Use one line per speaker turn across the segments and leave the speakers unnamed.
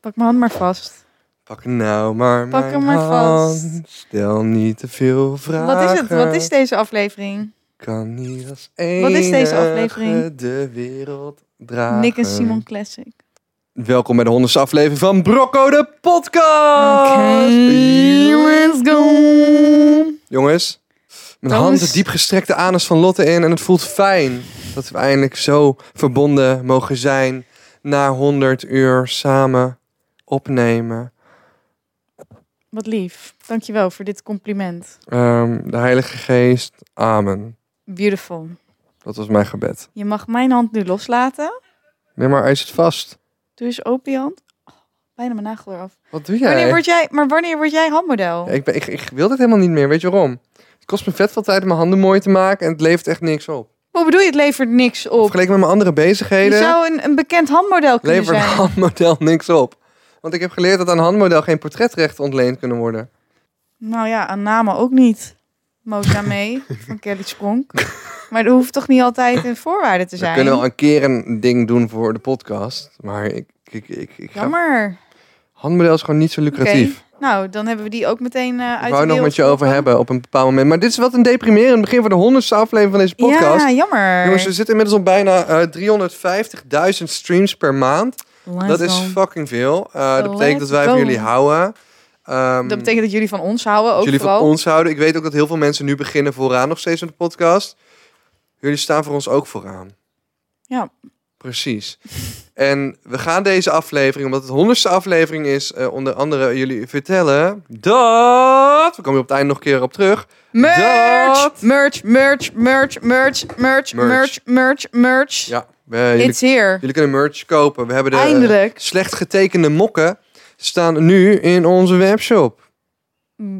Pak mijn hand maar vast.
Pak nou maar
Pak
mijn
hem maar vast.
hand. Stel niet te veel vragen.
Wat is het? Wat is deze aflevering?
Kan niet als
Wat is deze aflevering?
enige de wereld dragen.
Nick en Simon Classic.
Welkom bij de honderdste aflevering van Brocco de podcast.
Oh, let's go.
Jongens, mijn
Jongens.
hand de diep gestrekte anus van Lotte in en het voelt fijn dat we eindelijk zo verbonden mogen zijn na 100 uur samen opnemen.
Wat lief. Dankjewel voor dit compliment.
Ehm, de Heilige Geest, amen.
Beautiful.
Dat was mijn gebed.
Je mag mijn hand nu loslaten.
Nee, maar hij zit vast.
Doe eens open je hand. Oh, bijna mijn nagel eraf.
Wat doe jij?
Wanneer word jij, maar wanneer word jij handmodel?
Ja, ik, ben, ik, ik wil dit helemaal niet meer, weet je waarom? Het kost me vet veel tijd om mijn handen mooi te maken en het levert echt niks op.
Hoe bedoel je, het levert niks op?
Vergeleken met mijn andere
Je
bezigheden,
zou een, een bekend handmodel kunnen
levert een
zijn.
handmodel niks op. Want ik heb geleerd dat aan een handmodel geen portretrecht ontleend kunnen worden.
Nou ja, aan namen ook niet. Mota mee van Kelly Spronk. Maar dat hoeft toch niet altijd een voorwaarde te zijn?
We kunnen wel een keer een ding doen voor de podcast. Maar ik, ik, ik, ik ga...
Jammer.
handmodel is gewoon niet zo lucratief.
Nou, dan hebben we die ook meteen eh uit
Ik
de
wou nog
wereld
met je over
geholpen.
hebben op een bepaald moment. Maar dit is wat een deprimerend begin van de honderdste aflevering van deze podcast.
Ja, jammer.
Jongens, dus, we zitten inmiddels op bijna eh 350.000 streams per maand.
Let's
dat is
go.
fucking veel. Eh, dat
Let's
betekent dat wij van
go.
jullie houden. Ehm,
Dat betekent dat jullie van ons houden ook
dat jullie
vooral.
van ons houden. Ik weet ook dat heel veel mensen nu beginnen vooraan nog steeds met de podcast. Jullie staan voor ons ook vooraan.
Ja.
Precies. En we gaan deze aflevering, omdat het honderdste aflevering is, eh, onder andere jullie vertellen dat... We komen hier op het einde nog een keer op terug.
Merch!
Dat-
Merch, merch, merch, merch, merch, merch,
Merch.
merch, merch.
Ja, we- jullie,
It's here.
jullie kunnen merch kopen. We hebben de eh,
Eindelijk.
slecht getekende mokken staan nu in onze webshop.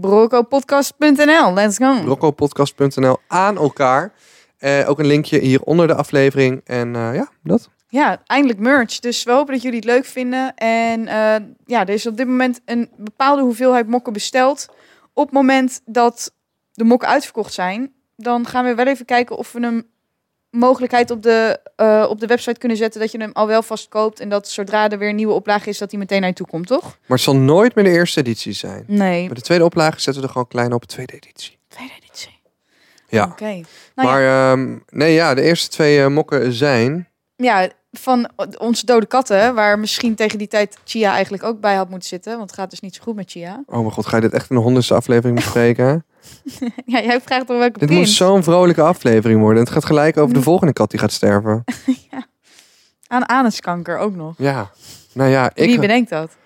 Brocopodcast.nl. Let's go.
Rockopodcast.nl aan elkaar. Eh, ook een linkje hier onder de aflevering. En eh, ja, dat.
Ja, eindelijk merch. Dus we hopen dat jullie het leuk vinden. En eh, ja, er is op dit moment een bepaalde hoeveelheid mokken besteld. Op het moment dat de mokken uitverkocht zijn, dan gaan we wel even kijken of we hem mogelijkheid op de, eh, op de website kunnen zetten dat je hem al wel vast koopt. En dat zodra er weer een nieuwe oplage is, dat hij meteen naar je toe komt, toch?
Maar het zal nooit meer de eerste editie zijn.
Nee.
Bij de tweede oplage zetten we er gewoon klein op, tweede editie.
Tweede editie.
Ja.
Oké. Nou ja.
maar ehm, nee, ja, de eerste twee eh, mokken zijn.
Ja, van onze dode katten, waar misschien tegen die tijd Chia eigenlijk ook bij had moeten zitten. Want het gaat dus niet zo goed met Chia.
Oh mijn god, ga je dit echt in de honderdste aflevering bespreken?
Ja, jij vraagt toch welke
dit
prins?
moet zo'n vrolijke aflevering worden. Het gaat gelijk over
Mm.
de volgende kat die gaat sterven.
Aan anuskanker ook nog.
Ja. Nou ja, ik.
Wie bedenkt dat?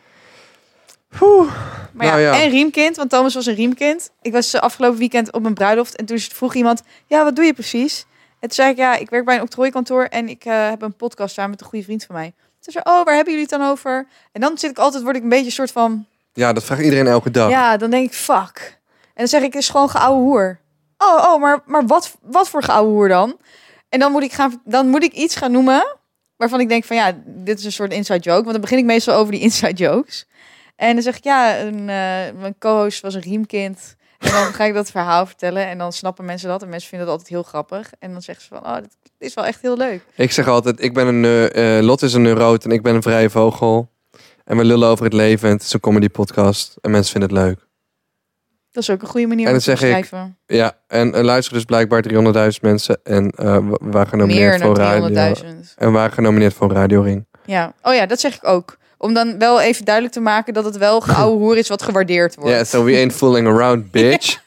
Maar
Nou
ja,
ja.
en riemkind, want Thomas was een riemkind. Ik was eh, afgelopen weekend op mijn bruiloft en toen vroeg iemand... Ja, wat doe je precies? En toen zei ik, ja, ik werk bij een octrooikantoor en ik eh, heb een podcast samen met een goede vriend van mij. Toen zei oh, waar hebben jullie het dan over? En dan zit ik altijd, word ik een beetje een soort van...
Ja, dat vraagt iedereen elke dag.
Ja, dan denk ik, fuck. En dan zeg ik, het is gewoon geouwe hoer. Oh, oh, maar, maar wat, wat voor geouwe hoer dan? En dan moet, ik gaan, dan moet ik iets gaan noemen waarvan ik denk van ja, dit is een soort inside joke. Want dan begin ik meestal over die inside jokes. En dan zeg ik, ja, een, eh, mijn co-host was een riemkind. En dan ga ik dat verhaal vertellen en dan snappen mensen dat. En mensen vinden dat altijd heel grappig. En dan zeggen ze van, oh, dit is wel echt heel leuk.
Ik zeg altijd, ik ben een. eh eh, Lot is een neuroot en ik ben een vrije vogel. En we lullen over het leven en het is een comedy podcast. En mensen vinden het leuk.
Dat is ook een goede manier
En
om
dan
te
zeg ik,
schrijven.
Ja, en eh, luisteren dus blijkbaar 300.000 mensen. En eh, we- we waren
Meer
genomineerd voor radio.
dan 300.000.
En we waren genomineerd voor een radioring.
Ja, oh ja, dat zeg ik ook. Om dan wel even duidelijk te maken dat het wel geouwe hoer is wat gewaardeerd
Ja,
wordt.
so we ain't fooling around, bitch.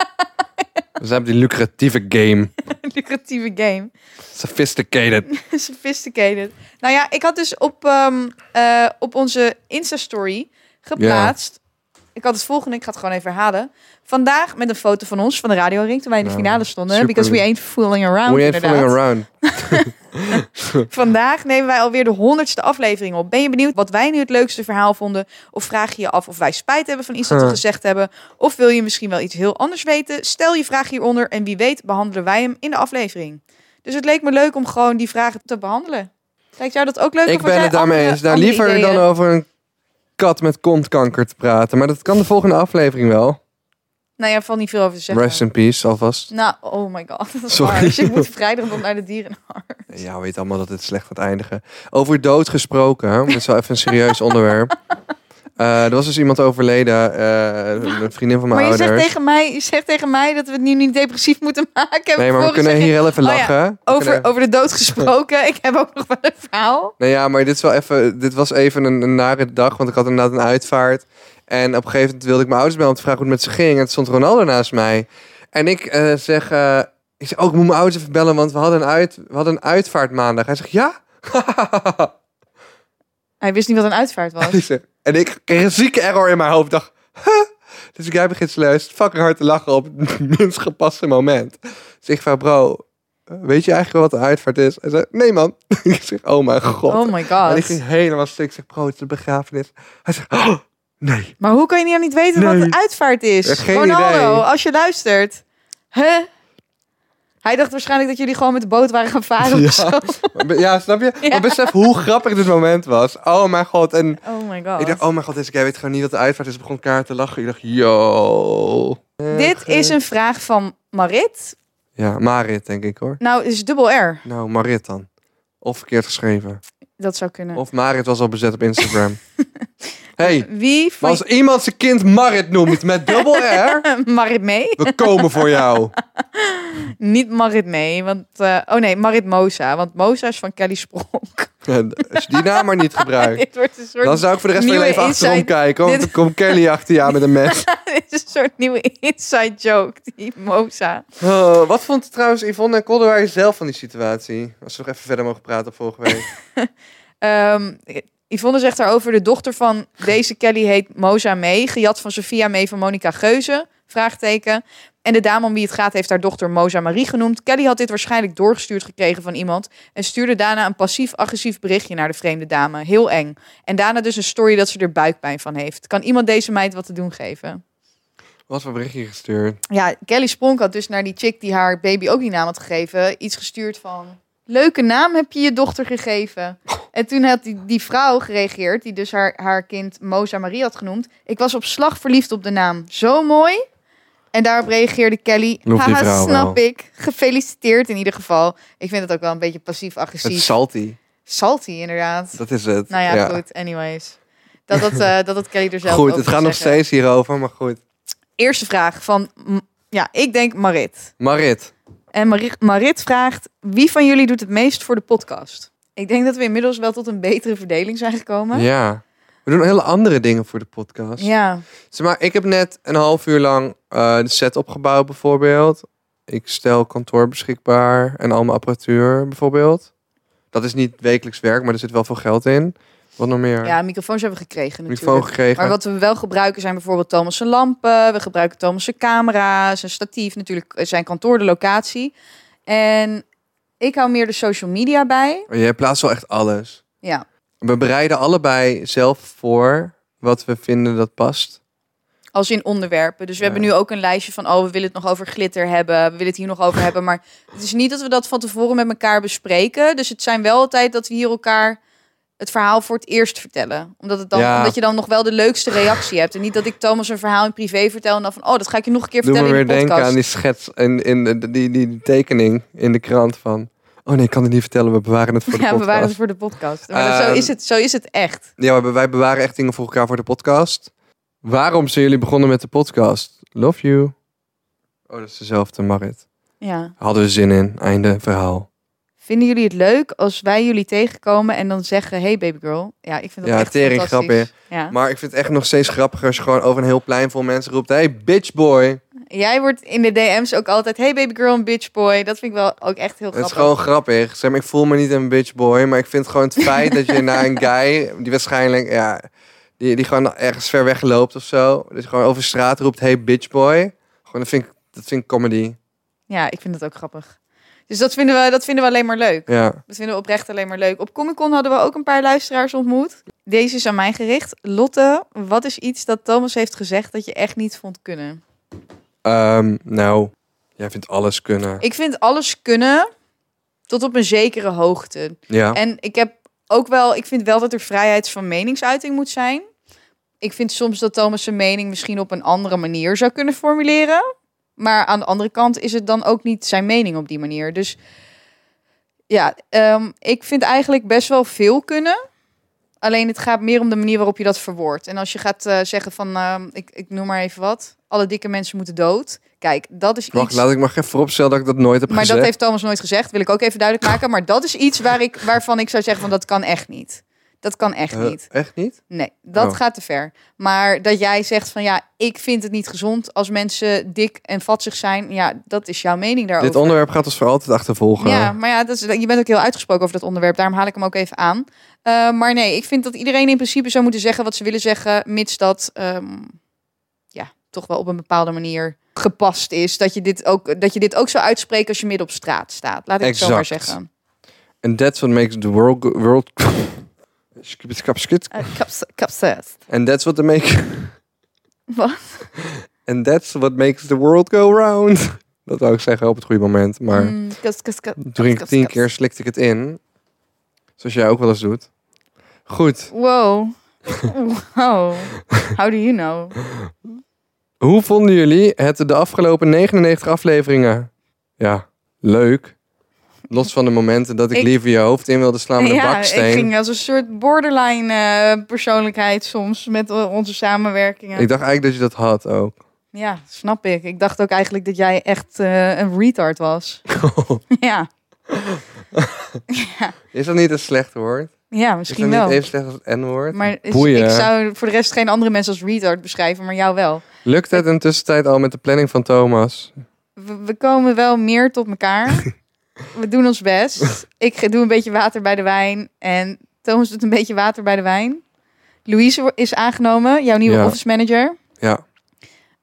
We zijn op die lucratieve game.
Een lucratieve game.
Sophisticated.
Sophisticated. Nou ja, ik had dus op, ehm, eh, op onze Insta-story geplaatst. Ik had het volgende, ik ga het gewoon even herhalen. Vandaag met een foto van ons, van de Radio Ring, toen wij in de
Nou,
finale stonden.
super
Because we
lief.
ain't fooling around,
we ain't
inderdaad.
fooling around.
Vandaag nemen wij alweer de honderdste aflevering op. Ben je benieuwd wat wij nu het leukste verhaal vonden? Of vraag je je af of wij spijt hebben van iets dat we
Huh.
gezegd hebben? Of wil je misschien wel iets heel anders weten? Stel je vraag hieronder en wie weet behandelen wij hem in de aflevering. Dus het leek me leuk om gewoon die vragen te behandelen. Lijkt jou dat ook leuk?
Ik
of had
ben
jij
het daarmee
andere-
eens. Nou,
andere
liever
ideeën?
dan over een kat met kontkanker te praten. Maar dat kan de volgende aflevering wel.
Nou ja, valt niet veel over te zeggen.
Rest in peace, alvast.
Nou, oh my god. Dat is
Sorry.
waar. Dus ik moet vrijdag nog naar de dierenarts.
Ja, we weten allemaal dat het slecht gaat eindigen. Over dood gesproken. hè? Dat is wel even een serieus onderwerp. Eh, er was dus iemand overleden, eh, een vriendin van mijn
Maar je
ouders.
zegt, tegen mij, je zegt tegen mij dat we het nu niet depressief moeten maken.
nee, maar we
Vervolgens
kunnen
zeg je,
hier heel even
oh ja,
lachen. We kunnen-
Over, over de dood gesproken. ik heb ook nog wel een verhaal.
Nou ja, maar dit, is wel even, dit was even een, een nare dag, want ik had inderdaad een uitvaart. En op een gegeven moment wilde ik mijn ouders bellen om te vragen hoe het met ze ging. En toen stond Ronaldo naast mij. En ik eh, zeg, eh, ik zeg, oh, ik moet mijn ouders even bellen, want we hadden een, uit, we hadden een uitvaart maandag. Hij zegt, ja?
Hij wist niet wat een uitvaart was.
Ik zeg- en ik kreeg een zieke error in mijn hoofd. Ik dacht, huh? Dus jij begint serieus fucking hard te lachen op het minst gepaste moment. Dus ik vraag, bro, weet je eigenlijk wel wat een uitvaart is? Hij zegt, nee man. ik zeg, oh mijn god.
Oh my
En
god.
ik ging helemaal stuk. Ik zeg, bro, het is een begrafenis. Hij zegt, oh, nee.
Maar hoe kan je nou niet weten wat
Nee.
een uitvaart is?
Geen
Ronaldo,
idee.
als je luistert. Huh? Hij dacht waarschijnlijk dat jullie gewoon met de boot waren gaan varen
Ja.
of zo.
Maar be- Ja, snap je?
Ja.
Maar besef hoe grappig dit moment was. Oh mijn god. En
Oh my god.
ik dacht, oh mijn god, deze guy weet gewoon niet wat de uitvaart is. Ik begon kaart te lachen. Ik dacht, yo.
Dit is
eh.
een vraag van Marit.
Ja, Marit denk ik hoor.
Nou, het is dubbel R.
Nou, Marit dan. Of verkeerd geschreven.
Dat zou kunnen.
Of Marit was al bezet op Instagram. hey,
Wie vond
als iemand zijn kind Marit noemt met dubbel R,
Marit mee?
we komen voor jou.
Niet Marit mee, want... eh, oh nee, Marit Mosa. Want Mosa is van Kelly Spronk.
En Als je die naam maar niet gebruikt.
Dit wordt een soort...
Dan zou ik voor de rest van je
nieuwe
leven achterom
insight.
kijken. Want
Dit-
dan komt Kelly achter je aan met een mes.
Dit is een soort nieuwe inside joke, die Mosa.
Oh, wat vond trouwens Yvonne en Kolderwijn zelf van die situatie? Als we nog even verder mogen praten op vorige week.
Ehm, Yvonne zegt daarover, de dochter van deze Kelly heet Mosa May. Gejat van Sophia May van Monica Geuze, vraagteken. En de dame om wie het gaat heeft haar dochter Mosa Marie genoemd. Kelly had dit waarschijnlijk doorgestuurd gekregen van iemand... en stuurde daarna een passief-agressief berichtje naar de vreemde dame. Heel eng. En daarna dus een story dat ze er buikpijn van heeft. Kan iemand deze meid wat te doen geven?
Wat voor berichtje gestuurd?
Ja, Kelly Spronk had dus naar die chick die haar baby ook die naam had gegeven, iets gestuurd van. Leuke naam heb je je dochter gegeven. En toen had die, die vrouw gereageerd, die dus haar, haar kind Moza Marie had genoemd. Ik was op slag verliefd op de naam. Zo mooi. En daarop reageerde Kelly.
Lof die
Haha,
vrouw
snap
wel."
ik. Gefeliciteerd in ieder geval. Ik vind het ook wel een beetje
Het
passief-agressief.
salty.
Salty, inderdaad.
Dat is het.
Nou ja, goed. Anyways. Dat dat, eh, dat dat Kelly er zelf
Goed,
over
het
wil
gaat nog
zeggen.
steeds hierover, maar goed.
Eerste vraag van, m- ja, ik denk Marit.
Marit.
En Marie- Marit vraagt: wie van jullie doet het meest voor de podcast? Ik denk dat we inmiddels wel tot een betere verdeling zijn gekomen.
Ja. We doen hele andere dingen voor de podcast.
Ja.
Zeg maar, ik heb net een half uur lang eh, de set opgebouwd bijvoorbeeld. Ik stel kantoor beschikbaar en al mijn apparatuur bijvoorbeeld. Dat is niet wekelijks werk, maar er zit wel veel geld in. Wat nog meer?
ja, microfoons hebben we gekregen natuurlijk.
Microfoon gekregen.
Maar wat we wel gebruiken zijn bijvoorbeeld Thomas' lampen. We gebruiken Thomas' camera's, een statief, natuurlijk eh, zijn kantoor, de locatie. En ik hou meer de social media bij.
Oh, Jij plaatst wel echt alles.
Ja.
We bereiden allebei zelf voor wat we vinden dat past.
Als in onderwerpen. Dus we
Ja.
hebben nu ook een lijstje van, oh, we willen het nog over glitter hebben. We willen het hier nog over hebben. Maar het is niet dat we dat van tevoren met elkaar bespreken. Dus het zijn wel altijd dat we hier elkaar het verhaal voor het eerst vertellen. Omdat, het dan,
Ja.
omdat je dan nog wel de leukste reactie hebt. En niet dat ik Thomas een verhaal in privé vertel en dan van, oh, dat ga ik je nog een keer
Doe me
vertellen
weer
in de
denken
podcast.
aan die schets en in de- die, die, die tekening in de krant van... Oh nee, ik kan het niet vertellen, we bewaren het voor de
ja,
podcast.
we waren het voor de podcast. Maar dat- zo,
Ehm.
is het, zo is het echt.
Ja, maar wij bewaren echt dingen voor elkaar voor de podcast. Waarom zijn jullie begonnen met de podcast? Love you. Oh, dat is dezelfde Marit.
Ja.
Hadden we zin in. Einde verhaal.
Vinden jullie het leuk als wij jullie tegenkomen en dan zeggen, hey babygirl? Ja, ik vind dat
Ja,
echt
tering
fantastisch. Ja.
Maar ik vind het echt nog steeds grappiger als je gewoon over een heel plein vol mensen roept... Hey, bitch boy.
Jij wordt in de DM's ook altijd, hey baby girl en bitch boy. Dat vind ik wel ook echt heel
Het is
grappig.
gewoon grappig. Zeg maar, ik voel me niet een bitch boy, maar ik vind gewoon het feit dat je naar een guy die waarschijnlijk ja, die, die gewoon ergens ver weg loopt of zo, dus gewoon over straat roept, hey bitch boy, gewoon dat vind ik dat vind ik comedy.
Ja, ik vind dat ook grappig. Dus dat vinden we, dat vinden we alleen maar leuk.
Ja.
Dat vinden we oprecht alleen maar leuk. Op Comic Con hadden we ook een paar luisteraars ontmoet. Deze is aan mij gericht. Lotte, wat is iets dat Thomas heeft gezegd dat je echt niet vond kunnen?
Ehm, nou, jij vindt alles kunnen.
Ik vind alles kunnen tot op een zekere hoogte.
Ja.
En ik heb ook wel, ik vind wel dat er vrijheid van meningsuiting moet zijn. Ik vind soms dat Thomas zijn mening misschien op een andere manier zou kunnen formuleren. Maar aan de andere kant is het dan ook niet zijn mening op die manier. Dus ja, ehm, ik vind eigenlijk best wel veel kunnen. Alleen het gaat meer om de manier waarop je dat verwoordt. En als je gaat eh, zeggen van, ehm, ik, ik noem maar even wat, alle dikke mensen moeten dood. Kijk, dat is
Wacht,
iets...
laat ik maar even vooropstellen dat ik dat nooit heb
maar
gezegd.
dat heeft Thomas nooit gezegd, wil ik ook even duidelijk maken. Maar dat is iets waar ik, waarvan ik zou zeggen van, dat kan echt niet. Dat kan echt
Eh,
niet.
echt niet?
Nee, dat
Oh.
gaat te ver. Maar dat jij zegt van ja, ik vind het niet gezond als mensen dik en vatzig zijn. Ja, dat is jouw mening daarover.
Dit onderwerp gaat ons voor altijd achtervolgen.
Ja, maar ja, dat is, je bent ook heel uitgesproken over dat onderwerp. Daarom haal ik hem ook even aan. Eh, maar nee, ik vind dat iedereen in principe zou moeten zeggen wat ze willen zeggen. Mits dat ehm, ja, toch wel op een bepaalde manier gepast is. Dat je dit ook, dat je dit ook zou uitspreken als je midden op straat staat. Laat ik het zo maar
Exact.
zeggen.
And that's what makes the world... go- world... Skip, skip, skip.
Eh, kaps- kapsels.
And that's what the make...
Wat?
And that's what makes the world go round. Dat wou ik zeggen op het goede moment. Maar
Mm, kaps- kaps- kaps-
toen ging ik
kaps-
tien
kaps.
keer slikte ik het in. Zoals jij ook wel eens doet. Goed.
Wow. wow. How do you know?
Hoe vonden jullie het de afgelopen 99 afleveringen? Ja, leuk. Los van de momenten dat ik,
Ik-
liever je hoofd in wilde slaan met een
ja, ik
baksteen.
ging als een soort borderline eh, persoonlijkheid soms met eh, onze samenwerkingen.
Ik dacht eigenlijk dat je dat had ook.
Ja, snap ik. Ik dacht ook eigenlijk dat jij echt eh, een retard was. ja.
Is dat niet een slecht woord?
ja,
Is
misschien
dat niet
wel.
even slecht als het N-woord?
Maar is-
Boeien.
ik zou voor de rest geen andere mensen als retard beschrijven, maar jou wel.
Lukt het in de tussentijd al met de planning van Thomas?
We, we komen wel meer tot elkaar. we doen ons best. Ik ge- doe een beetje water bij de wijn. En Thomas doet een beetje water bij de wijn. Louise wo- is aangenomen, jouw nieuwe
Ja.
office manager.
Ja.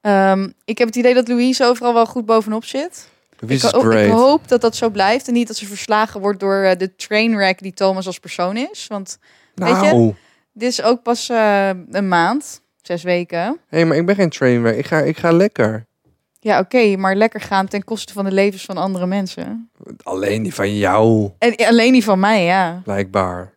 Ehm, ik heb het idee dat Louise overal wel goed bovenop zit.
Wie is
ik, ho- ik
great?
hoop dat dat zo blijft. En niet dat ze verslagen wordt door eh, de trainwreck die Thomas als persoon is. Want weet je?
Nou.
dit is ook pas eh, een maand, zes weken.
Hé, hey, maar ik ben geen trainwreck. Ik ga, ik ga lekker.
Ja, oké, maar lekker gaan ten koste van de levens van andere mensen.
Alleen die van jou,
En alleen die van mij, ja.
blijkbaar.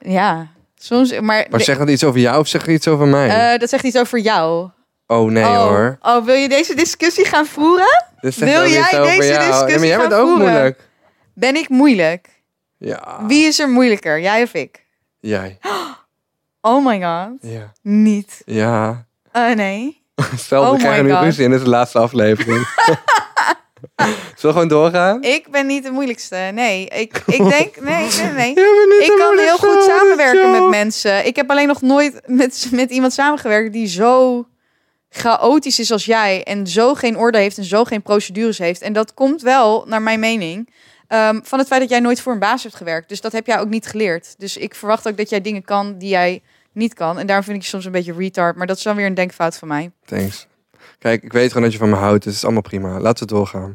Ja, soms. Maar,
Maar zeg dat iets over jou of zeg iets over mij?
Eh, dat zegt iets over jou.
oh nee
oh,
hoor.
Oh, wil je deze discussie gaan voeren?
Dit zegt
wil
ook
jij
iets over
deze
jou.
discussie
maar jij
gaan
bent ook
voeren?
moeilijk.
Ben ik moeilijk?
Ja.
Wie is er moeilijker, jij of ik?
Jij.
Oh my god,
Ja.
niet.
Ja.
Oh nee.
Stel,
Oh
we
my
krijgen nu
God.
ruzie en dit is de laatste aflevering. Zullen we gewoon doorgaan?
Ik ben niet de moeilijkste. Nee, ik, ik denk. Nee, nee, nee.
Ik
Ik kan heel goed samenwerken met mensen. Ik heb alleen nog nooit met, met iemand samengewerkt die zo chaotisch is als jij. En zo geen orde heeft en zo geen procedures heeft. En dat komt wel, naar mijn mening, ehm, van het feit dat jij nooit voor een baas hebt gewerkt. Dus dat heb jij ook niet geleerd. Dus ik verwacht ook dat jij dingen kan die jij niet kan. En daarom vind ik je soms een beetje retard. Maar dat is dan weer een denkfout van mij.
Thanks. Kijk, ik weet gewoon dat je van me houdt, dus het is allemaal prima. Laten we doorgaan.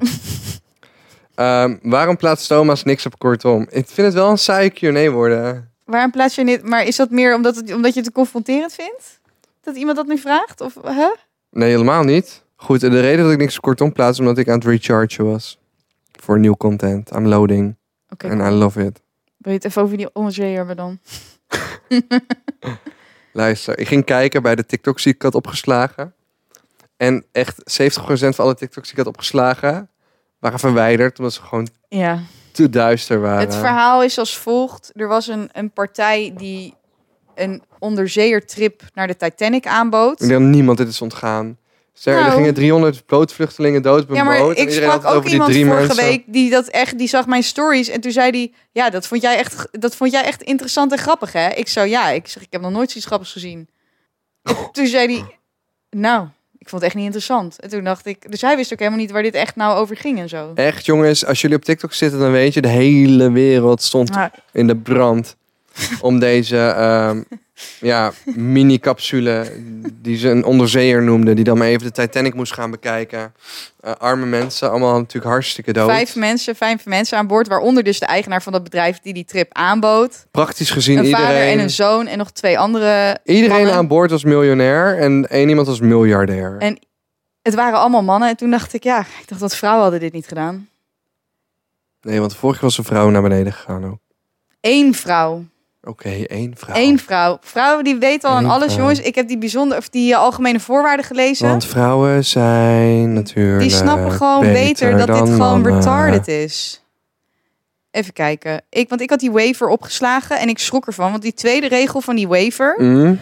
Ehm, waarom plaatst Thomas niks op kortom? Ik vind het wel een saaie Q&A worden.
Waarom plaats je dit? Maar is dat meer omdat, het, omdat je het confronterend vindt? Dat iemand dat nu vraagt? Of, huh?
Nee, helemaal niet. Goed, en de reden dat ik niks op kortom plaats, is omdat ik aan het rechargen was. Voor nieuw content. I'm loading.
Oké,
En I love it.
wil je het even over die onzeer hebben dan?
Luister, ik ging kijken bij de TikToks die ik had opgeslagen. En echt 70% van alle TikToks die ik had opgeslagen, waren verwijderd. Omdat ze gewoon
Ja.
te duister waren.
Het verhaal is als volgt. Er was een, een partij die een onderzeeërtrip naar de Titanic
Ik
aanbood.
denk dat niemand dit is ontgaan. Ster, Er
Nou.
gingen 300 bootvluchtelingen dood op een
Ja, maar
boot. en
ik
iedereen
sprak
had het
ook
over die
iemand
drie
vorige
mensen.
week die dat echt, die zag mijn stories en toen zei die, ja, dat vond jij echt, dat vond jij echt interessant en grappig, hè? Ik zou, ja, ik zeg, ik heb nog nooit zoiets grappigs gezien.
Oh.
En toen zei die, nou, ik vond het echt niet interessant. En toen dacht ik, dus hij wist ook helemaal niet waar dit echt nou over ging en zo.
Echt jongens, als jullie op TikTok zitten, dan weet je, de hele wereld stond
Maar
in de brand. om deze ehm, ja, mini-capsule die ze een onderzeeër noemden. Die dan maar even de Titanic moest gaan bekijken. Eh, arme mensen, allemaal natuurlijk hartstikke dood.
vijf mensen, vijf mensen aan boord, waaronder dus de eigenaar van dat bedrijf die die trip aanbood.
Praktisch gezien
een
iedereen...
vader en een zoon en nog twee andere.
Iedereen
mannen.
aan boord was miljonair en één iemand was miljardair.
En- Het waren allemaal mannen. En toen dacht ik, ja, ik dacht dat vrouwen hadden dit niet gedaan.
Nee, want vorig jaar was een vrouw naar beneden gegaan ook.
Eén vrouw.
Oké, één vrouw.
Eén vrouw. Vrouwen die weten al aan
Nou. Eén
alles,
vrouw.
jongens. Ik heb die bijzonder of die eh, algemene voorwaarden gelezen.
Want eh, vrouwen zijn natuurlijk
die snappen gewoon beter, dat
dan
dit gewoon
mannen.
retarded is. Even kijken. Ik, want ik had die waiver opgeslagen en ik schrok ervan. Want die tweede regel van die waiver,
Mm.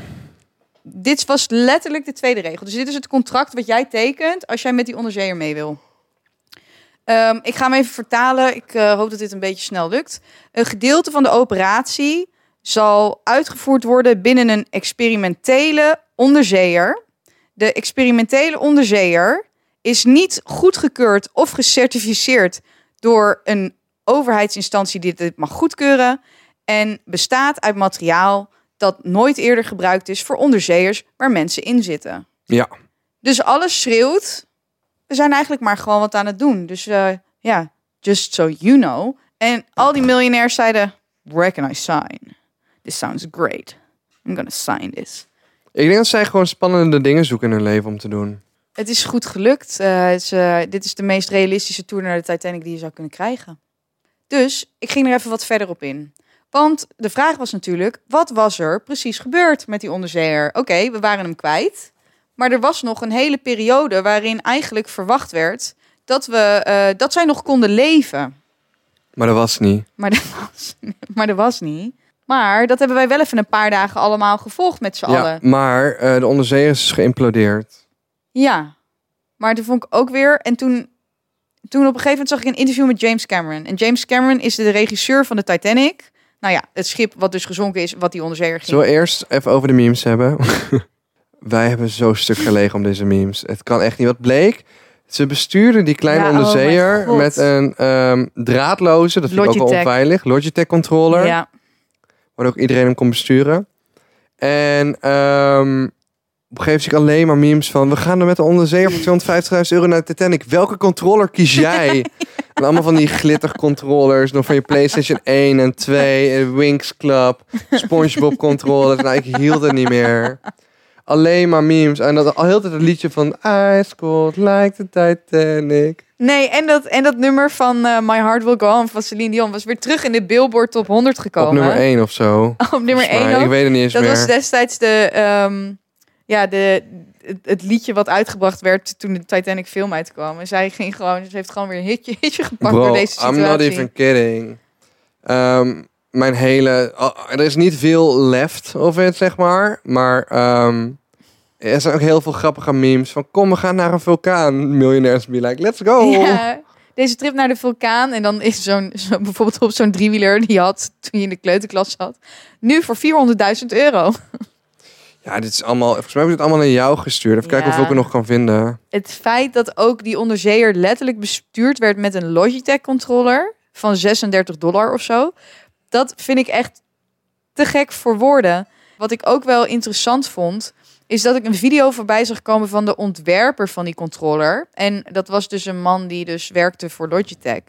dit was letterlijk de tweede regel. Dus dit is het contract wat jij tekent als jij met die onderzeeër mee wil. Ehm, ik ga hem even vertalen. Ik eh, hoop dat dit een beetje snel lukt. Een gedeelte van de operatie zal uitgevoerd worden binnen een experimentele onderzeeër. De experimentele onderzeeër is niet goedgekeurd of gecertificeerd door een overheidsinstantie die dit mag goedkeuren en bestaat uit materiaal dat nooit eerder gebruikt is voor onderzeeërs waar mensen in zitten.
Ja.
Dus alles schreeuwt. We zijn eigenlijk maar gewoon wat aan het doen. Dus eh, ja, just so you know. En al die miljonairs zeiden, where can I sign? This sounds great. I'm gonna sign this.
Ik denk dat zij gewoon spannende dingen zoeken in hun leven om te doen.
Het is goed gelukt. Eh, het is, eh, dit is de meest realistische tour naar de Titanic die je zou kunnen krijgen. Dus ik ging er even wat verder op in. Want de vraag was natuurlijk, wat was er precies gebeurd met die onderzeeër? Oké, we waren hem kwijt. Maar er was nog een hele periode waarin eigenlijk verwacht werd dat, we, eh, dat zij nog konden leven.
Maar dat was niet.
Maar dat, was, maar dat was niet. Maar dat hebben wij wel even een paar dagen allemaal gevolgd met z'n allen.
Ja, maar eh, de onderzeeër is geïmplodeerd.
Ja, maar toen vond ik ook weer. En toen, toen op een gegeven moment zag ik een interview met James Cameron. En James Cameron is de regisseur van de Titanic. Nou ja, het schip wat dus gezonken is, wat die onderzeeër ging.
Zullen we eerst even over de memes hebben? Wij hebben zo stuk gelegen om deze memes. Het kan echt niet. Wat bleek? Ze bestuurden die kleine
Ja, oh mijn
onderzeeër
God.
met een ehm, draadloze, dat vind ik ook wel
Logitech.
onveilig, Logitech controller.
Ja,
Waar ook iedereen hem kon besturen. En ehm op een gegeven moment zie ik alleen maar memes van... we gaan er met de onderzeeër voor 250.000 euro naar de Titanic. Welke controller kies jij? En allemaal van die glittercontrollers. Nog van je PlayStation 1 en 2. En Winx Club. Spongebob controllers. Nou, ik hield het niet meer. Alleen maar memes. En dat al heel de tijd het liedje van... Ice cold like the Titanic.
nee, en dat, en dat nummer van eh, My Heart Will Go On van Celine Dion was weer terug in de Billboard Top 100 gekomen.
Op nummer 1 of zo.
Op nummer
Volgens mij.
1 ook.
Ik weet het niet eens
Dat
meer.
was destijds de, ehm, ja, de, het, het liedje wat uitgebracht werd toen de Titanic film uitkwam. En zij ging gewoon, ze heeft gewoon weer een hitje, hitje gepakt door deze situatie.
I'm not even kidding. Ehm, mijn hele... oh, er is niet veel left of het, zeg maar. Maar ehm, er zijn ook heel veel grappige memes. Van kom, we gaan naar een vulkaan. Miljonairs be like, let's go.
Ja, deze trip naar de vulkaan. En dan is zo'n zo, bijvoorbeeld op zo'n driewieler die je had toen je in de kleuterklas zat. Nu voor 400.000 euro.
Ja, dit is allemaal... Volgens mij heb ik dit allemaal naar jou gestuurd. Even kijken
Ja.
of ik er nog kan vinden.
Het feit dat ook die onderzeeër letterlijk bestuurd werd met een Logitech controller van 36 dollar of zo. Dat vind ik echt te gek voor woorden. Wat ik ook wel interessant vond, is dat ik een video voorbij zag komen van de ontwerper van die controller. En dat was dus een man die dus werkte voor Logitech.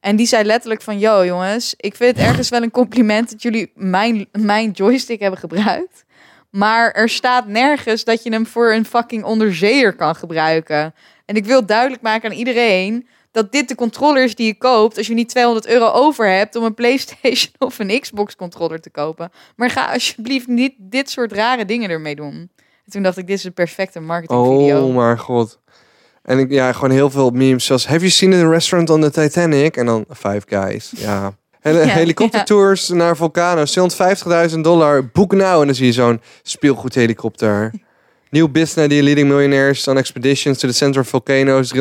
En die zei letterlijk van, yo jongens, ik vind het ergens wel een compliment dat jullie mijn, mijn joystick hebben gebruikt. Maar er staat nergens dat je hem voor een fucking onderzeeër kan gebruiken. En ik wil duidelijk maken aan iedereen dat dit de controller is die je koopt als je niet 200 euro over hebt om een PlayStation of een Xbox controller te kopen. Maar ga alsjeblieft niet dit soort rare dingen ermee doen. En toen dacht ik, dit is een perfecte marketingvideo.
Oh, mijn god. En ik, ja, gewoon heel veel memes. Zoals, have you seen the restaurant on the Titanic? En dan Five Guys. Ja. Hele,
Ja,
helikoptertours naar vulkanen. 750.000 dollar. Boek nou. En dan zie je zo'n speelgoedhelikopter. Nieuw business die leading millionaires on expeditions to the center of volcanoes. 350.000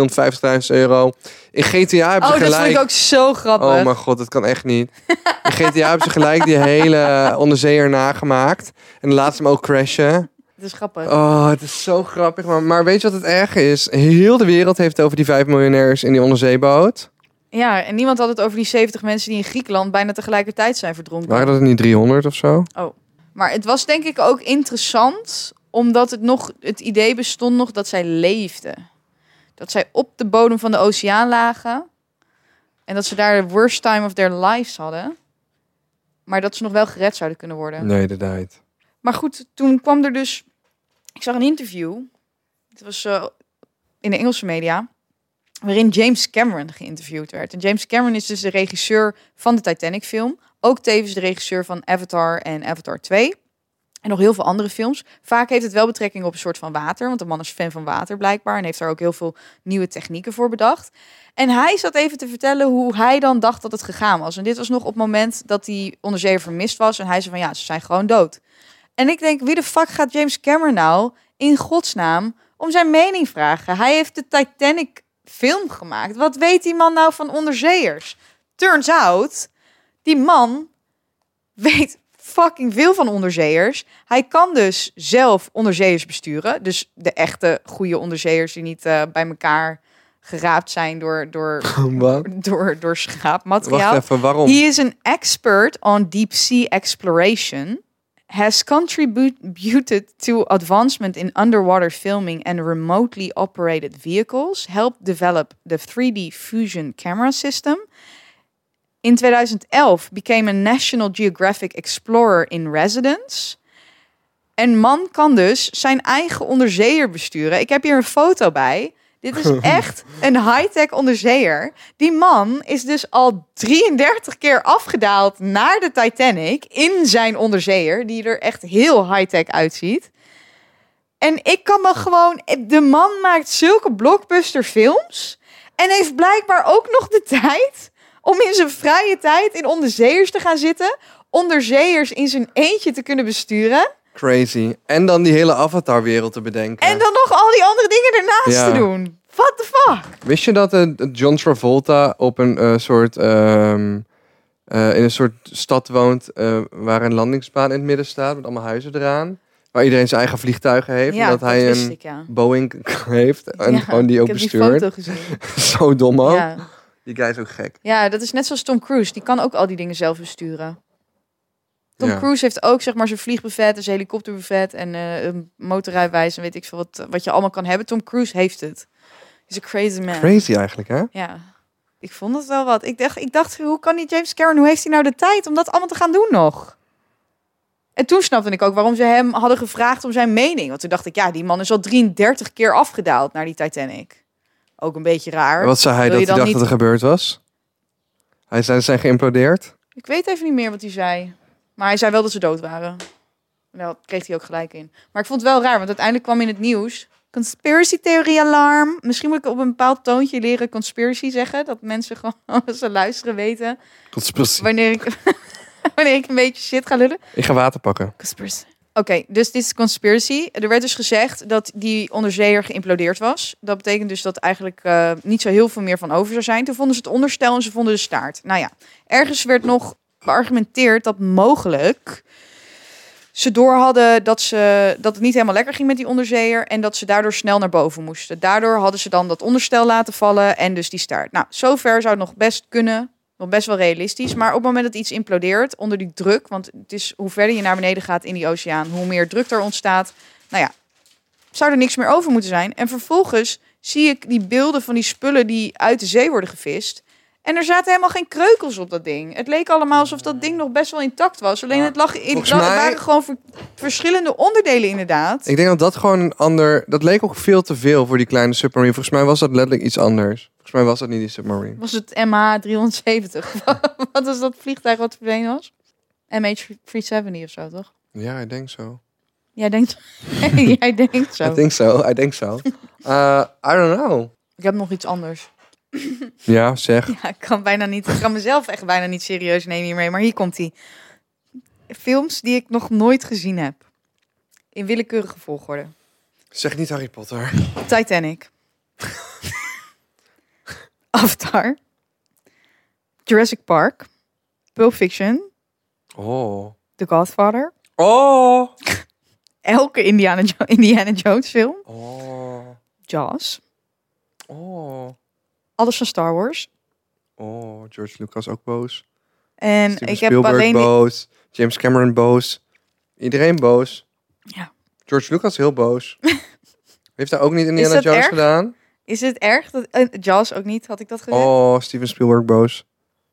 euro. In GTA hebben ze
Oh, dat vond
gelijk.
ik ook zo grappig.
Oh mijn god, dat kan echt niet. In GTA hebben ze gelijk die hele eh, onderzeeër nagemaakt. En laat ze hem ook crashen.
Dat is grappig.
Oh, het is zo grappig. Maar, maar weet je wat het erg is? Heel de wereld heeft het over die vijf miljonairs in die onderzeeboot.
Ja, en niemand had het over die 70 mensen die in Griekenland bijna tegelijkertijd zijn verdronken.
Waren dat er niet 300 of zo?
Maar het was denk ik ook interessant, omdat het nog het idee bestond nog dat zij leefden. Dat zij op de bodem van de oceaan lagen. En dat ze daar de worst time of their lives hadden. Maar dat ze nog wel gered zouden kunnen worden.
Nee, dat niet.
Maar goed, toen kwam er dus. Ik zag een interview. Het was eh, in de Engelse media. Waarin James Cameron geïnterviewd werd. En James Cameron is dus de regisseur van de Titanic-film. Ook tevens de regisseur van Avatar en Avatar 2. En nog heel veel andere films. Vaak heeft het wel betrekking op een soort van water. Want de man is fan van water blijkbaar. En heeft daar ook heel veel nieuwe technieken voor bedacht. En hij zat even te vertellen hoe hij dan dacht dat het gegaan was. En dit was nog op het moment dat die onderzeeër vermist was. En hij zei van ja, ze zijn gewoon dood. En ik denk, wie de fuck gaat James Cameron nou in godsnaam om zijn mening vragen? Hij heeft de Titanic film gemaakt. Wat weet die man nou van onderzeeërs? Turns out, die man weet fucking veel van onderzeeërs. Hij kan dus zelf onderzeeërs besturen. Dus de echte goede onderzeeërs die niet eh, bij elkaar geraapt zijn door, door,
Wat?
door, door schaapmateriaal.
Wacht even, waarom?
He is an expert on deep sea exploration, has contributed to advancement in underwater filming and remotely operated vehicles, helped develop the 3D fusion camera system. In 2011 became a National Geographic Explorer in Residence. En man kan dus zijn eigen onderzeeër besturen. Ik heb hier een foto bij. Dit is echt een high-tech onderzeeër. Die man is dus al 33 keer afgedaald naar de Titanic in zijn onderzeeër, die er echt heel high-tech uitziet. En ik kan me gewoon. De man maakt zulke blockbuster films. En heeft blijkbaar ook nog de tijd om in zijn vrije tijd in onderzeeërs te gaan zitten. Onderzeeërs in zijn eentje te kunnen besturen.
Crazy. En dan die hele avatarwereld te bedenken.
En dan nog al die andere dingen ernaast
Ja.
te doen. What the fuck?
Wist je dat eh, John Travolta op een eh, soort. ehm, eh, in een soort stad woont eh, waar een landingsbaan in het midden staat met allemaal huizen eraan. Waar iedereen zijn eigen vliegtuigen heeft. en dat hij
wist
een
ik, ja.
Boeing heeft en
Ja,
gewoon die ook
ik heb die
bestuurt.
foto
Oh.
gezien.
Zo dom ook.
Ja.
Die guy is ook gek.
ja, dat is net zoals Tom Cruise. Die kan ook al die dingen zelf besturen. Tom
Ja.
Cruise heeft ook zeg maar zijn vliegbuffet, en zijn helikopterbuffet en eh, een motorrijwijs en weet ik veel wat, wat je allemaal kan hebben. Tom Cruise heeft het. He's a crazy man.
Crazy eigenlijk, hè?
Ja. Ik vond het wel wat. Ik dacht, ik dacht, hoe kan die James Cameron, hoe heeft hij nou de tijd om dat allemaal te gaan doen nog? En toen snapte ik ook waarom ze hem hadden gevraagd om zijn mening. Want toen dacht ik, ja, die man is al 33 keer afgedaald naar die Titanic. Ook een beetje raar.
Wat zei hij
Wil
dat
je
hij
dan
dacht
niet-
dat er gebeurd was? Hij zei, ze zijn geïmplodeerd.
Ik weet even niet meer wat hij zei. Maar hij zei wel dat ze dood waren. Wel, kreeg hij ook gelijk in. Maar ik vond het wel raar, want uiteindelijk kwam in het nieuws... Conspiracy theorie alarm. Misschien moet ik op een bepaald toontje leren conspiracy zeggen. Dat mensen gewoon, als ze luisteren, weten...
Conspiracy.
wanneer ik, wanneer ik een beetje shit ga lullen.
Ik ga water pakken.
Conspiracy. Oké, dus dit is conspiracy. Er werd dus gezegd dat die onderzeeër geïmplodeerd was. Dat betekent dus dat eigenlijk eh, niet zo heel veel meer van over zou zijn. Toen vonden ze het onderstel en ze vonden de staart. Nou ja, ergens werd nog beargumenteerd dat mogelijk ze door hadden dat, ze, dat het niet helemaal lekker ging met die onderzeeër. En dat ze daardoor snel naar boven moesten. Daardoor hadden ze dan dat onderstel laten vallen en dus die staart. Nou, zover zou het nog best kunnen. Nog best wel realistisch. Maar op het moment dat iets implodeert onder die druk. Want het is hoe verder je naar beneden gaat in die oceaan, hoe meer druk er ontstaat. Nou ja, zou er niks meer over moeten zijn. En vervolgens zie ik die beelden van die spullen die uit de zee worden gevist. En er zaten helemaal geen kreukels op dat ding. Het leek allemaal alsof dat ding nog best wel intact was. Alleen het lag in,
Volgens
la- het
mij-
waren gewoon ver- verschillende onderdelen inderdaad.
Ik denk dat dat gewoon een ander... Dat leek ook veel te veel voor die kleine submarine. Volgens mij was dat letterlijk iets anders. Volgens mij was dat niet die submarine.
Was het MH370? wat was dat vliegtuig wat verdwenen was? MH370 of zo, toch?
Ja, ik denk zo.
Jij denkt, Jij denkt zo.
I think so, I think so. Uh, I don't know.
Ik heb nog iets anders.
Ja, zeg.
Ja, ik kan bijna niet. Ik kan mezelf echt bijna niet serieus nemen hiermee. Maar hier komt hij. Films die ik nog nooit gezien heb. In willekeurige volgorde.
Zeg niet Harry Potter.
Titanic. Avatar. Jurassic Park. Pulp Fiction.
Oh.
The Godfather.
Oh.
Elke Indiana, Jo- Indiana Jones film.
Oh.
Jaws.
Oh.
Alles van Star Wars.
Oh, George Lucas ook boos.
En
Steven
ik heb
Spielberg
alleen... die-
boos. James Cameron boos. Iedereen boos.
Ja.
George Lucas heel boos. Heeft hij ook niet Indiana
dat
Jones
erg?
gedaan?
Is het erg? Dat, eh, Jaws ook niet, had ik dat gezegd.
Oh, Steven Spielberg boos.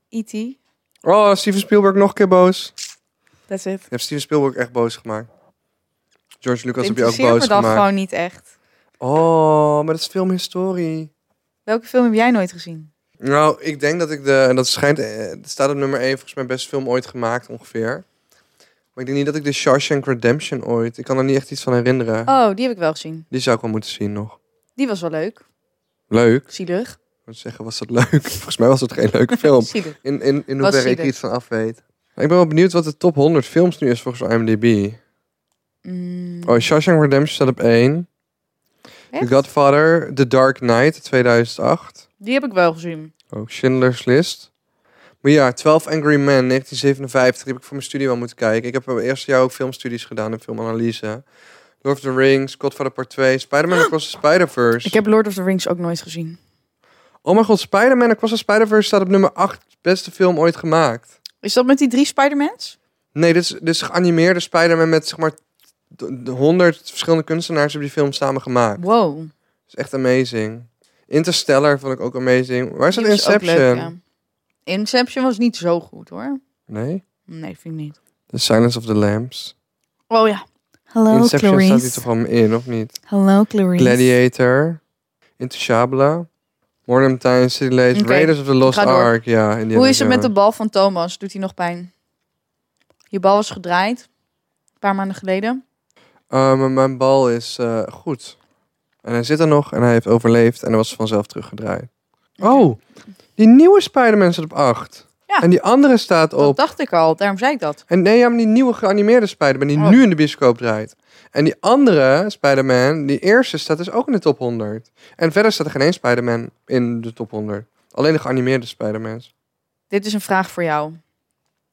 E.T.
Oh, Steven Spielberg nog een keer boos.
That's it.
Je hebt Steven Spielberg echt boos gemaakt. George Lucas heb je ook
interesseert
boos
me dan
gemaakt.
gewoon niet echt.
Oh, maar dat is filmhistorie.
Welke film heb jij nooit gezien?
Nou, ik denk dat ik de... En dat schijnt... eh, Het staat op nummer 1 volgens mij best film ooit gemaakt ongeveer. Maar ik denk niet dat ik de Shawshank Redemption ooit... Ik kan er niet echt iets van herinneren.
Oh, die heb ik wel gezien.
Die zou ik wel moeten zien nog.
Die was wel leuk.
Leuk.
Zielig.
Ik moet zeggen, was dat leuk? Volgens mij was dat geen leuke film.
Zielig.
In, in, in
Was
hoeverre ik
zielig.
iets van af weet. Maar Ik ben wel benieuwd wat de top 100 films nu is volgens IMDb.
Mm,
Oh, Shawshank Redemption staat op 1. The
echt?
Godfather, The Dark Knight 2008.
Die heb ik wel gezien.
Ook Schindler's List. Maar ja, 12 Angry Men 1957. Die heb ik voor mijn studie wel moeten kijken. Ik heb mijn eerste jaar ook filmstudies gedaan en filmanalyse. Lord of the Rings, Godfather Part 2, Spider-Man Across the Spider-Verse.
Ik heb Lord of the Rings ook nooit gezien.
Oh mijn god, Spider-Man Across the Spider-Verse staat op nummer 8. Beste film ooit gemaakt.
Is dat met die drie Spider-Mans?
Nee, dit is, dit is geanimeerde Spider-Man met zeg maar honderd verschillende kunstenaars hebben die film samen gemaakt.
Wow.
Dat is echt amazing. Interstellar vond ik ook amazing. Waar is dat
Die was ook
Inception?
leuk, ja. Inception was niet zo goed hoor.
Nee?
Nee, vind ik niet.
The Silence of the Lambs.
Oh ja. Hallo
Inception staat hier toch wel in, of niet?
Hallo Clarice.
Gladiator. Intouchabla. Modern Times, City Lights,
Oké,
Raiders of the Lost
ga door.
Ark. Ja, Indiana
Hoe is het met de
Jones.
bal van Thomas? Doet hij nog pijn? Je bal was gedraaid. Een paar maanden geleden.
Eh, maar mijn bal is eh, goed. En hij zit er nog en hij heeft overleefd en hij was vanzelf teruggedraaid. Oh, die nieuwe Spider-Man staat op 8.
Ja.
En die andere staat
Dat
op...
dacht ik al. Daarom zei ik dat.
En nee, ja, maar die nieuwe geanimeerde Spider-Man die
Oh.
nu in de bioscoop draait. En die andere Spider-Man, die eerste, staat dus ook in de top 100. En verder staat er geen één Spider-Man in de top 100. Alleen de geanimeerde Spider-Mans.
Dit is een vraag voor jou.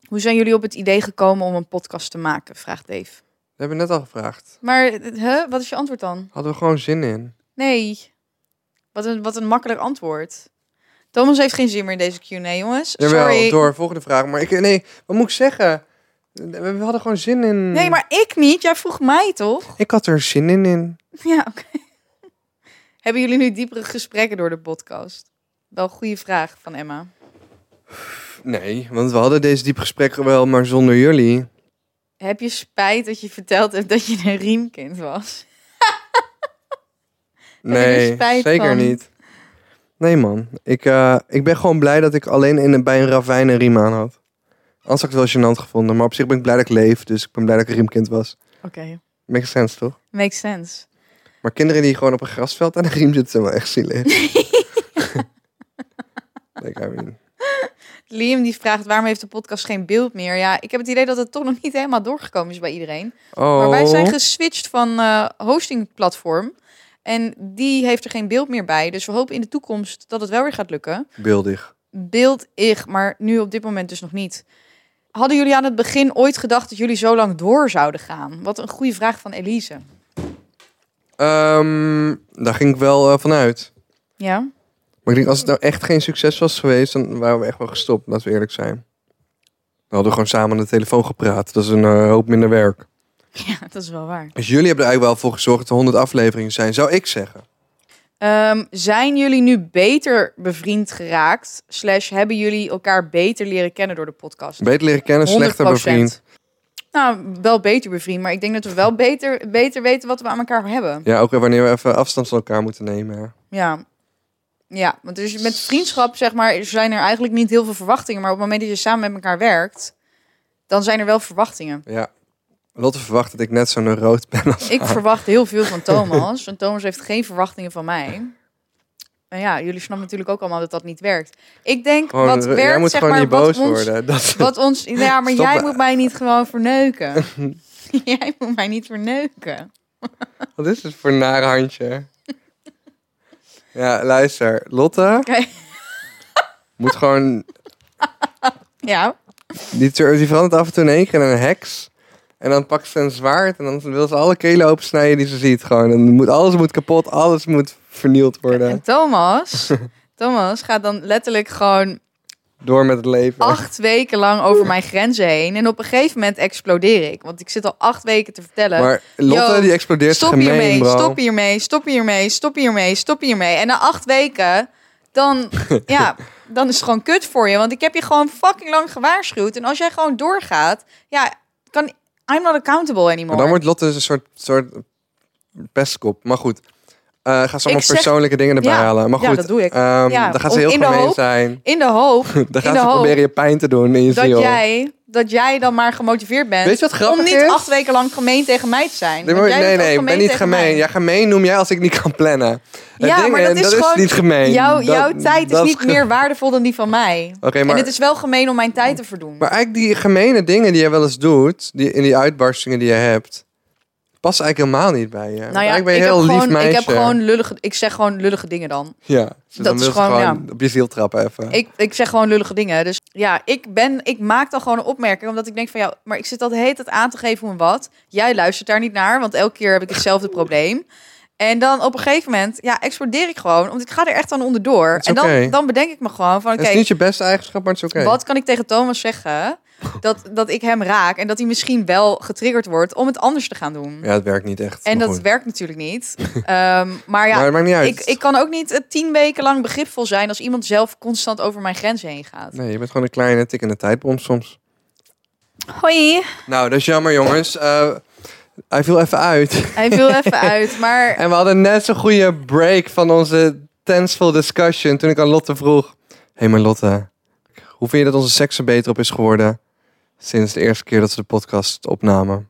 Hoe zijn jullie op het idee gekomen om een podcast te maken? Vraagt Dave.
Dat hebben we net al gevraagd.
Maar hè, wat is je antwoord dan?
Hadden we gewoon zin in.
Nee. Wat een, wat een makkelijk antwoord. Thomas heeft geen zin meer in deze Q&A, jongens.
Jawel,
Sorry.
door, volgende vraag. Maar ik, nee, wat moet ik zeggen? We hadden gewoon zin in...
Nee, maar ik niet. Jij vroeg mij toch?
Ik had er zin in in.
Ja, oké. Hebben jullie nu diepere gesprekken door de podcast? Wel goede vraag van Emma.
Nee, want we hadden deze diep gesprek wel, maar zonder jullie.
Heb je spijt dat je verteld hebt dat je een riemkind was? Heb je er
Nee,
spijt
zeker
van?
niet. Nee man, ik, eh, ik ben gewoon blij dat ik alleen in, een- bij een ravijn een riem aan had. Anders had ik het wel gênant gevonden, maar op zich ben ik blij dat ik leef. Dus ik ben blij dat ik een riemkind was.
Oké,
Makes sense, toch?
makes sense.
Maar kinderen die gewoon op een grasveld aan een riem zitten, zijn wel echt zielig. like, I mean.
Liam die vraagt waarom heeft de podcast geen beeld meer? Ja, ik heb het idee dat het toch nog niet helemaal doorgekomen is bij iedereen.
Oh,
Maar wij zijn geswitcht van eh, hostingplatform. En die heeft er geen beeld meer bij. Dus we hopen in de toekomst dat het wel weer gaat lukken.
beeldig.
Beeld ik, maar nu op dit moment dus nog niet. Hadden jullie aan het begin ooit gedacht dat jullie zo lang door zouden gaan? Wat een goede vraag van Elise.
Ehm, daar ging ik wel eh, vanuit.
Ja?
Maar ik denk, als het nou echt geen succes was geweest, dan waren we echt wel gestopt, laten we eerlijk zijn. Dan hadden we gewoon samen aan de telefoon gepraat. Dat is een eh, hoop minder werk.
Ja, dat is wel waar.
Dus jullie hebben er eigenlijk wel voor gezorgd dat er 100 afleveringen zijn, zou ik zeggen.
Ehm, zijn jullie nu beter bevriend geraakt? Slash hebben jullie elkaar beter leren kennen door de podcast?
Beter leren kennen, slechter
100%.
bevriend.
Nou, wel beter bevriend, maar ik denk dat we wel beter, beter weten wat we aan elkaar hebben.
Ja, ook weer wanneer we even afstand van elkaar moeten nemen. ja.
Ja. Ja, want dus met vriendschap, zeg maar, zijn er eigenlijk niet heel veel verwachtingen. Maar op het moment dat je samen met elkaar werkt, dan zijn er wel verwachtingen.
Ja. Lotte verwacht dat ik net zo'n rood ben als
Ik
haar.
verwacht heel veel van Thomas. En Thomas heeft geen verwachtingen van mij. En ja, jullie snappen natuurlijk ook allemaal dat dat niet werkt. Ik denk,
Gewoon, eh,
wat
Oh, jij
werkt,
moet
zeg
gewoon
maar,
niet boos
wat ons
worden. Dat is-
Wat ons. Ja, maar
Stop
jij
me.
moet mij niet gewoon verneuken. jij moet mij niet verneuken.
Wat is het voor een nare handje? ja, luister. Lotte
Oké.
moet gewoon
Ja.
Die, tur- die verandert af en toe in één keer in een heks. En dan pakt ze een zwaard en dan wil ze alle kelen opensnijden die ze ziet. Gewoon. En moet, alles moet kapot, alles moet vernield worden.
En Thomas. Thomas gaat dan letterlijk gewoon
Door met het leven.
acht weken lang over mijn grenzen heen. En op een gegeven moment explodeer ik. Want ik zit al acht weken te vertellen.
maar Lotte
eh, Yo,
die explodeert
stop
gemeen,
hiermee,
bro.
stop hiermee, stop hiermee, stop hiermee, stop hiermee. En na acht weken, dan, ja, dan is het gewoon kut voor je. Want ik heb je gewoon fucking lang gewaarschuwd. En als jij gewoon doorgaat, ja, kan, I'm not accountable
Maar
anymore.
dan wordt Lotte dus een soort, soort pestkop. Maar goed. Eh ga ze allemaal
zeg-
persoonlijke dingen erbij
Ja,
halen. Maar
ja,
goed,
dat doe ik.
ehm,
Ja,
dan gaat
om-
ze heel
in de
gemeen
hoop-
zijn.
In de hoop
Dan
in
gaat
de
ze
hoop
proberen je pijn te doen in je
dat
ziel.
jij dat jij dan maar gemotiveerd bent.
Weet je wat grappig
om niet
is?
acht weken lang gemeen tegen mij te zijn.
Nee,
Want jij
maar- nee,
bent ook
nee, ik ben niet
tegen
gemeen.
mij.
Ja, gemeen noem jij als ik niet kan plannen. Het
Ja, maar
eh,
dat is gewoon-
niet gemeen.
Jouw,
Dat-
jouw tijd is
dat
niet
ge-
meer waardevol dan die van mij.
Oké, maar,
En het is wel gemeen om mijn tijd te verdoen.
maar eigenlijk die gemene dingen die je wel eens doet, die, in die uitbarstingen die je hebt, past eigenlijk helemaal niet bij je. Want
nou ja,
eigenlijk ben je
ik,
heel
heb
lief
gewoon,
meisje.
ik heb gewoon lullige... Ik zeg gewoon lullige dingen dan.
Ja, dus
dat
dan
is
wil ze
gewoon,
gewoon, op je ziel trappen even.
Ik, ik zeg gewoon lullige dingen. Dus ja, ik, ben, ik maak dan gewoon een opmerking. Omdat ik denk van ja, maar ik zit dat de hele tijd aan te geven hoe en wat. Jij luistert daar niet naar, want elke keer heb ik hetzelfde probleem. En dan op een gegeven moment, ja, explodeer ik gewoon. Want ik ga er echt aan onderdoor.
It's
En dan,
okay.
dan bedenk ik me gewoon van oké,
Het is niet je beste eigenschap, maar het is oké.
Wat kan ik tegen Thomas zeggen dat, dat ik hem raak en dat hij misschien wel getriggerd wordt om het anders te gaan doen?
Ja, het werkt niet echt.
en
Maar
dat
goed.
werkt natuurlijk niet. Ehm, maar ja,
Maar het maakt niet uit.
ik, ik kan ook niet eh, tien weken lang begripvol zijn als iemand zelf constant over mijn grenzen heen gaat.
Nee, je bent gewoon een kleine tikkende tijdbom soms.
Hoi,
Nou, dat is jammer, jongens. Eh, hij viel even uit.
hij viel even uit, maar
En we hadden net zo'n goede break van onze tenseful discussion toen ik aan Lotte vroeg. Hé, hey, maar Lotte, hoe vind je dat onze seks er beter op is geworden sinds de eerste keer dat ze de podcast opnamen?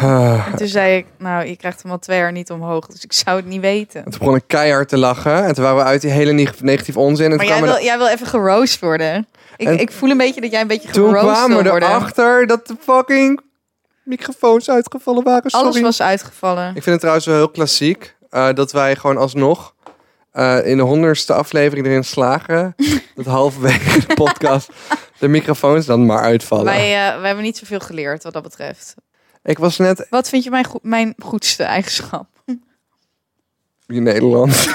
Ah,
toen zei ik, nou, je krijgt hem al twee jaar niet omhoog, dus ik zou het niet weten.
en toen begon ik keihard te lachen en toen waren we uit die hele neg- negatief onzin. En
Maar
toen
jij
kwamen,
wil, jij wil even geroost worden. Ik,
En-
ik voel een beetje dat jij een beetje
we- toen
geroost
kwamen
wil
we
worden.
erachter dat de fucking microfoons uitgevallen waren. Sorry.
Alles was uitgevallen.
Ik vind het trouwens wel heel klassiek eh, dat wij gewoon alsnog eh, in de honderdste aflevering erin slagen. dat halverwege de podcast de microfoons dan maar uitvallen.
Wij, eh, wij hebben niet zoveel geleerd wat dat betreft.
Ik was net
Wat vind je mijn, goe- mijn goedste eigenschap?
in Nederland.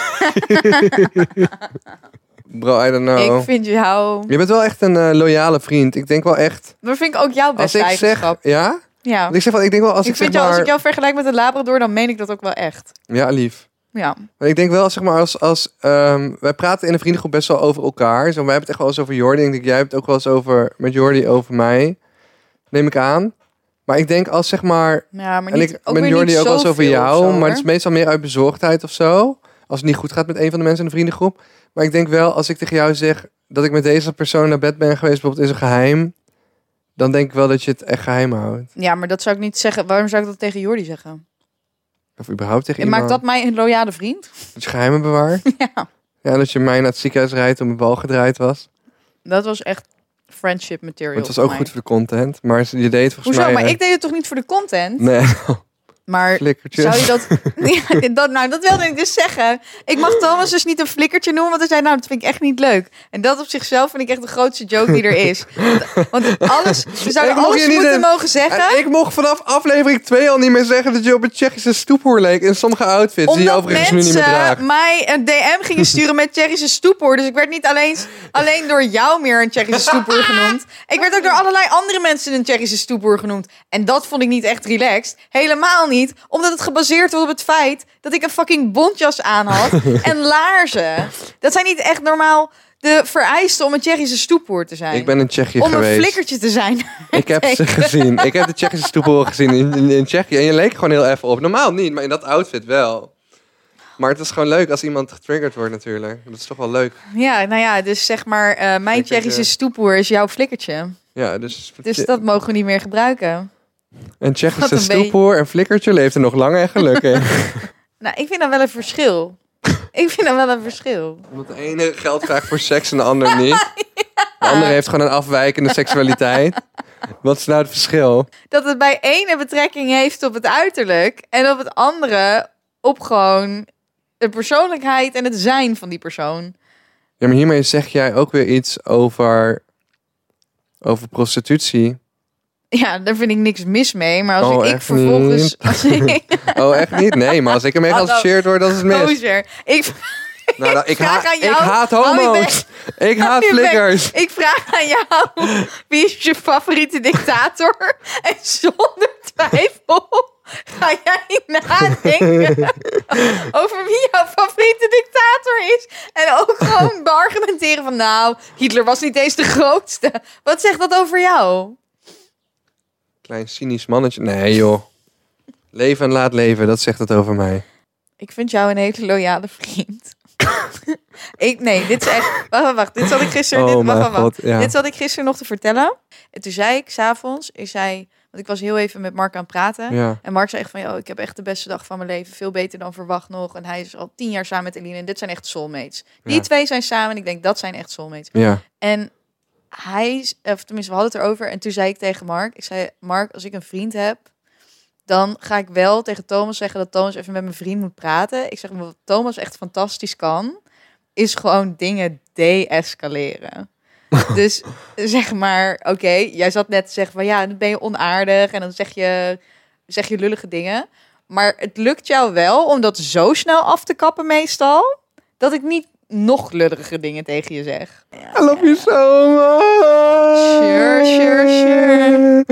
Bro, I don't know.
Ik vind jou...
Je bent wel echt een eh, loyale vriend. Ik denk wel echt.
Maar vind ik ook jouw
Als
beste
ik zeg.
eigenschap.
Ja?
Ja.
Want ik zeg wel, ik denk wel als
ik
ik,
vind
zeg
jou,
maar.
als ik jou vergelijk met een labrador, dan meen ik dat ook wel echt.
Ja, lief.
Ja.
Maar ik denk wel, zeg maar, als, als ehm, wij praten in de vriendengroep best wel over elkaar. Zo, wij hebben het echt wel eens over Jordi. Ik denk, jij hebt het ook wel eens over, met Jordi over mij. Neem ik aan. Maar ik denk als, zeg maar,
Ja, maar
en
niet,
ik
ook
met
weer
Jordi
niet
ook wel eens over
zoveel of
jou.
zo,
maar
hoor.
het is meestal meer uit bezorgdheid of zo. Als het niet goed gaat met een van de mensen in de vriendengroep. Maar ik denk wel, als ik tegen jou zeg dat ik met deze persoon naar bed ben geweest, bijvoorbeeld in een geheim. Dan denk ik wel dat je het echt geheim houdt.
Ja, maar dat zou ik niet zeggen. Waarom zou ik dat tegen Jordi zeggen?
Of überhaupt tegen
Maakt
iemand.
dat mij een loyale vriend?
Dat je geheimen bewaart.
Ja.
Ja, dat je mij naar het ziekenhuis rijdt om een bal gedraaid was.
Dat was echt friendship material.
Maar het was ook
voor
goed
mij.
voor de content. Maar je deed het volgens
Hoezo?
mij...
Maar
eh,
ik deed het toch niet voor de content?
Nee,
Maar
flikkertje.
zou je dat... Ja, dat nou, dat wilde ik dus zeggen. Ik mag Thomas dus niet een flikkertje noemen, want hij zei, nou, dat vind ik echt niet leuk. En dat op zichzelf vind ik echt de grootste joke die er is. Want- Want alles, ze zouden
Ik mocht
alles
je niet
moeten
een- Eh,
mogen zeggen.
En ik mocht vanaf aflevering 2 al niet meer zeggen dat je op een Tsjechische stoephoer leek. In sommige outfits die je
Omdat
overigens nu niet meer draagt.
mensen mij een DM gingen sturen met Tsjechische stoephoer. Dus ik werd niet alleen, alleen door jou meer een Tsjechische stoephoer genoemd. Ik werd ook door allerlei andere mensen een Tsjechische stoephoer genoemd. En dat vond ik niet echt relaxed. Helemaal niet. Omdat het gebaseerd was op het feit dat ik een fucking bontjas aan had. en laarzen. Dat zijn niet echt normaal de vereisten om een Tsjechische stoephoer te zijn.
Ik ben in Tsjechië
om een
geweest.
flikkertje te zijn.
ik heb ze gezien. Ik heb de Tsjechische stoephoer gezien in, in, in Tsjechië. En je leek gewoon heel even op. Normaal niet, maar in dat outfit wel. Maar het is gewoon leuk als iemand getriggerd wordt natuurlijk. Dat is toch wel leuk.
Ja, nou ja, dus zeg maar, eh, mijn
Flikkertje.
Tsjechische stoephoer is jouw flikkertje.
Ja, dus...
Dus dat mogen we niet meer gebruiken.
Een
Wat
Tsjechische
een beetje.
stoephoer en flikkertje leeft er nog lang en gelukkig.
Nou, ik vind dat wel een verschil. ik vind dat wel een verschil.
Omdat de ene geld vraagt voor seks en de ander niet. De andere heeft gewoon een afwijkende seksualiteit. Wat is nou het verschil?
Dat het bij ene betrekking heeft op het uiterlijk en op het andere op gewoon de persoonlijkheid en het zijn van die persoon.
Ja, maar hiermee zeg jij ook weer iets over, over prostitutie.
Ja, daar vind ik niks mis mee. Maar als
Oh,
ik, ik
echt
vervolgens. Als ik,
Oh, echt niet? Nee, maar als ik ermee
Hallo.
geassocieerd word, dan is het mis.
Gozer, ik,
Nou, nou, ik,
Vraag
ha-
Oh, aan
ik
jou.
haat
Hou je Oh,
homo's. Ik haat
je bek.
Ah, flikkers.
ik vraag aan jou: wie is je favoriete dictator? En zonder twijfel ga jij nadenken over wie jouw favoriete dictator is. En ook gewoon beargumenteren van nou, Hitler was niet eens de grootste. Wat zegt dat over jou?
Klein cynisch mannetje. Nee, joh. Leven en laat leven, dat zegt het over mij.
Ik vind jou een hele loyale vriend. Ik, nee, dit is echt... Wacht, wacht, wacht. Dit zat ik gisteren...
oh
dit, wacht,
mijn
wacht, wacht.
god, ja.
Dit zat ik gisteren nog te vertellen. En toen zei ik s'avonds, ik zei, want ik was heel even met Mark aan het praten.
ja.
En Mark zei echt van, joh, ik heb echt de beste dag van mijn leven. Veel beter dan verwacht nog. En hij is al tien jaar samen met Eline. En dit zijn echt soulmates. Die
Ja.
twee zijn samen en ik denk, dat zijn echt soulmates.
Ja.
En hij, is- of tenminste, we hadden het erover. En toen zei ik tegen Mark, ik zei, Mark, als ik een vriend heb, dan ga ik wel tegen Thomas zeggen dat Thomas even met mijn vriend moet praten. Ik zeg, wat Thomas echt fantastisch kan, is gewoon dingen de-escaleren. dus zeg maar, oké, jij zat net te zeggen van ja, dan ben je onaardig en dan zeg je, zeg je lullige dingen. Maar het lukt jou wel om dat zo snel af te kappen meestal, dat ik niet nog lullige dingen tegen je zeg.
I love you so much.
Sure, sure, sure.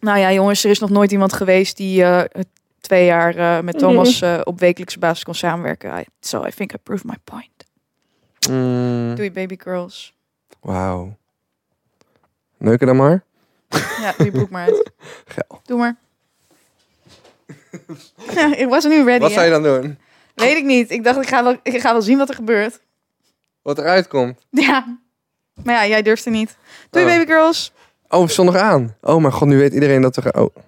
Nou ja, jongens, er is nog nooit iemand geweest die eh, twee jaar eh, met Thomas eh, op wekelijkse basis kon samenwerken. I, so I think I proved my
Mhm.
point.
Mm,
Doei, baby girls.
Wauw. Neuken dan maar.
Ja, doe je broek maar uit.
Geil.
Doe maar. Ja, ik was nu ready.
Wat zou
hè?
je dan doen?
Weet ik niet. Ik dacht, ik ga, wel, ik ga wel zien wat er gebeurt.
Wat eruit komt?
Ja. Maar ja, jij durfde niet. Doei,
Oh.
baby girls.
Oh, zondag aan. Oh mijn god, nu weet iedereen dat we... gaan- Oh,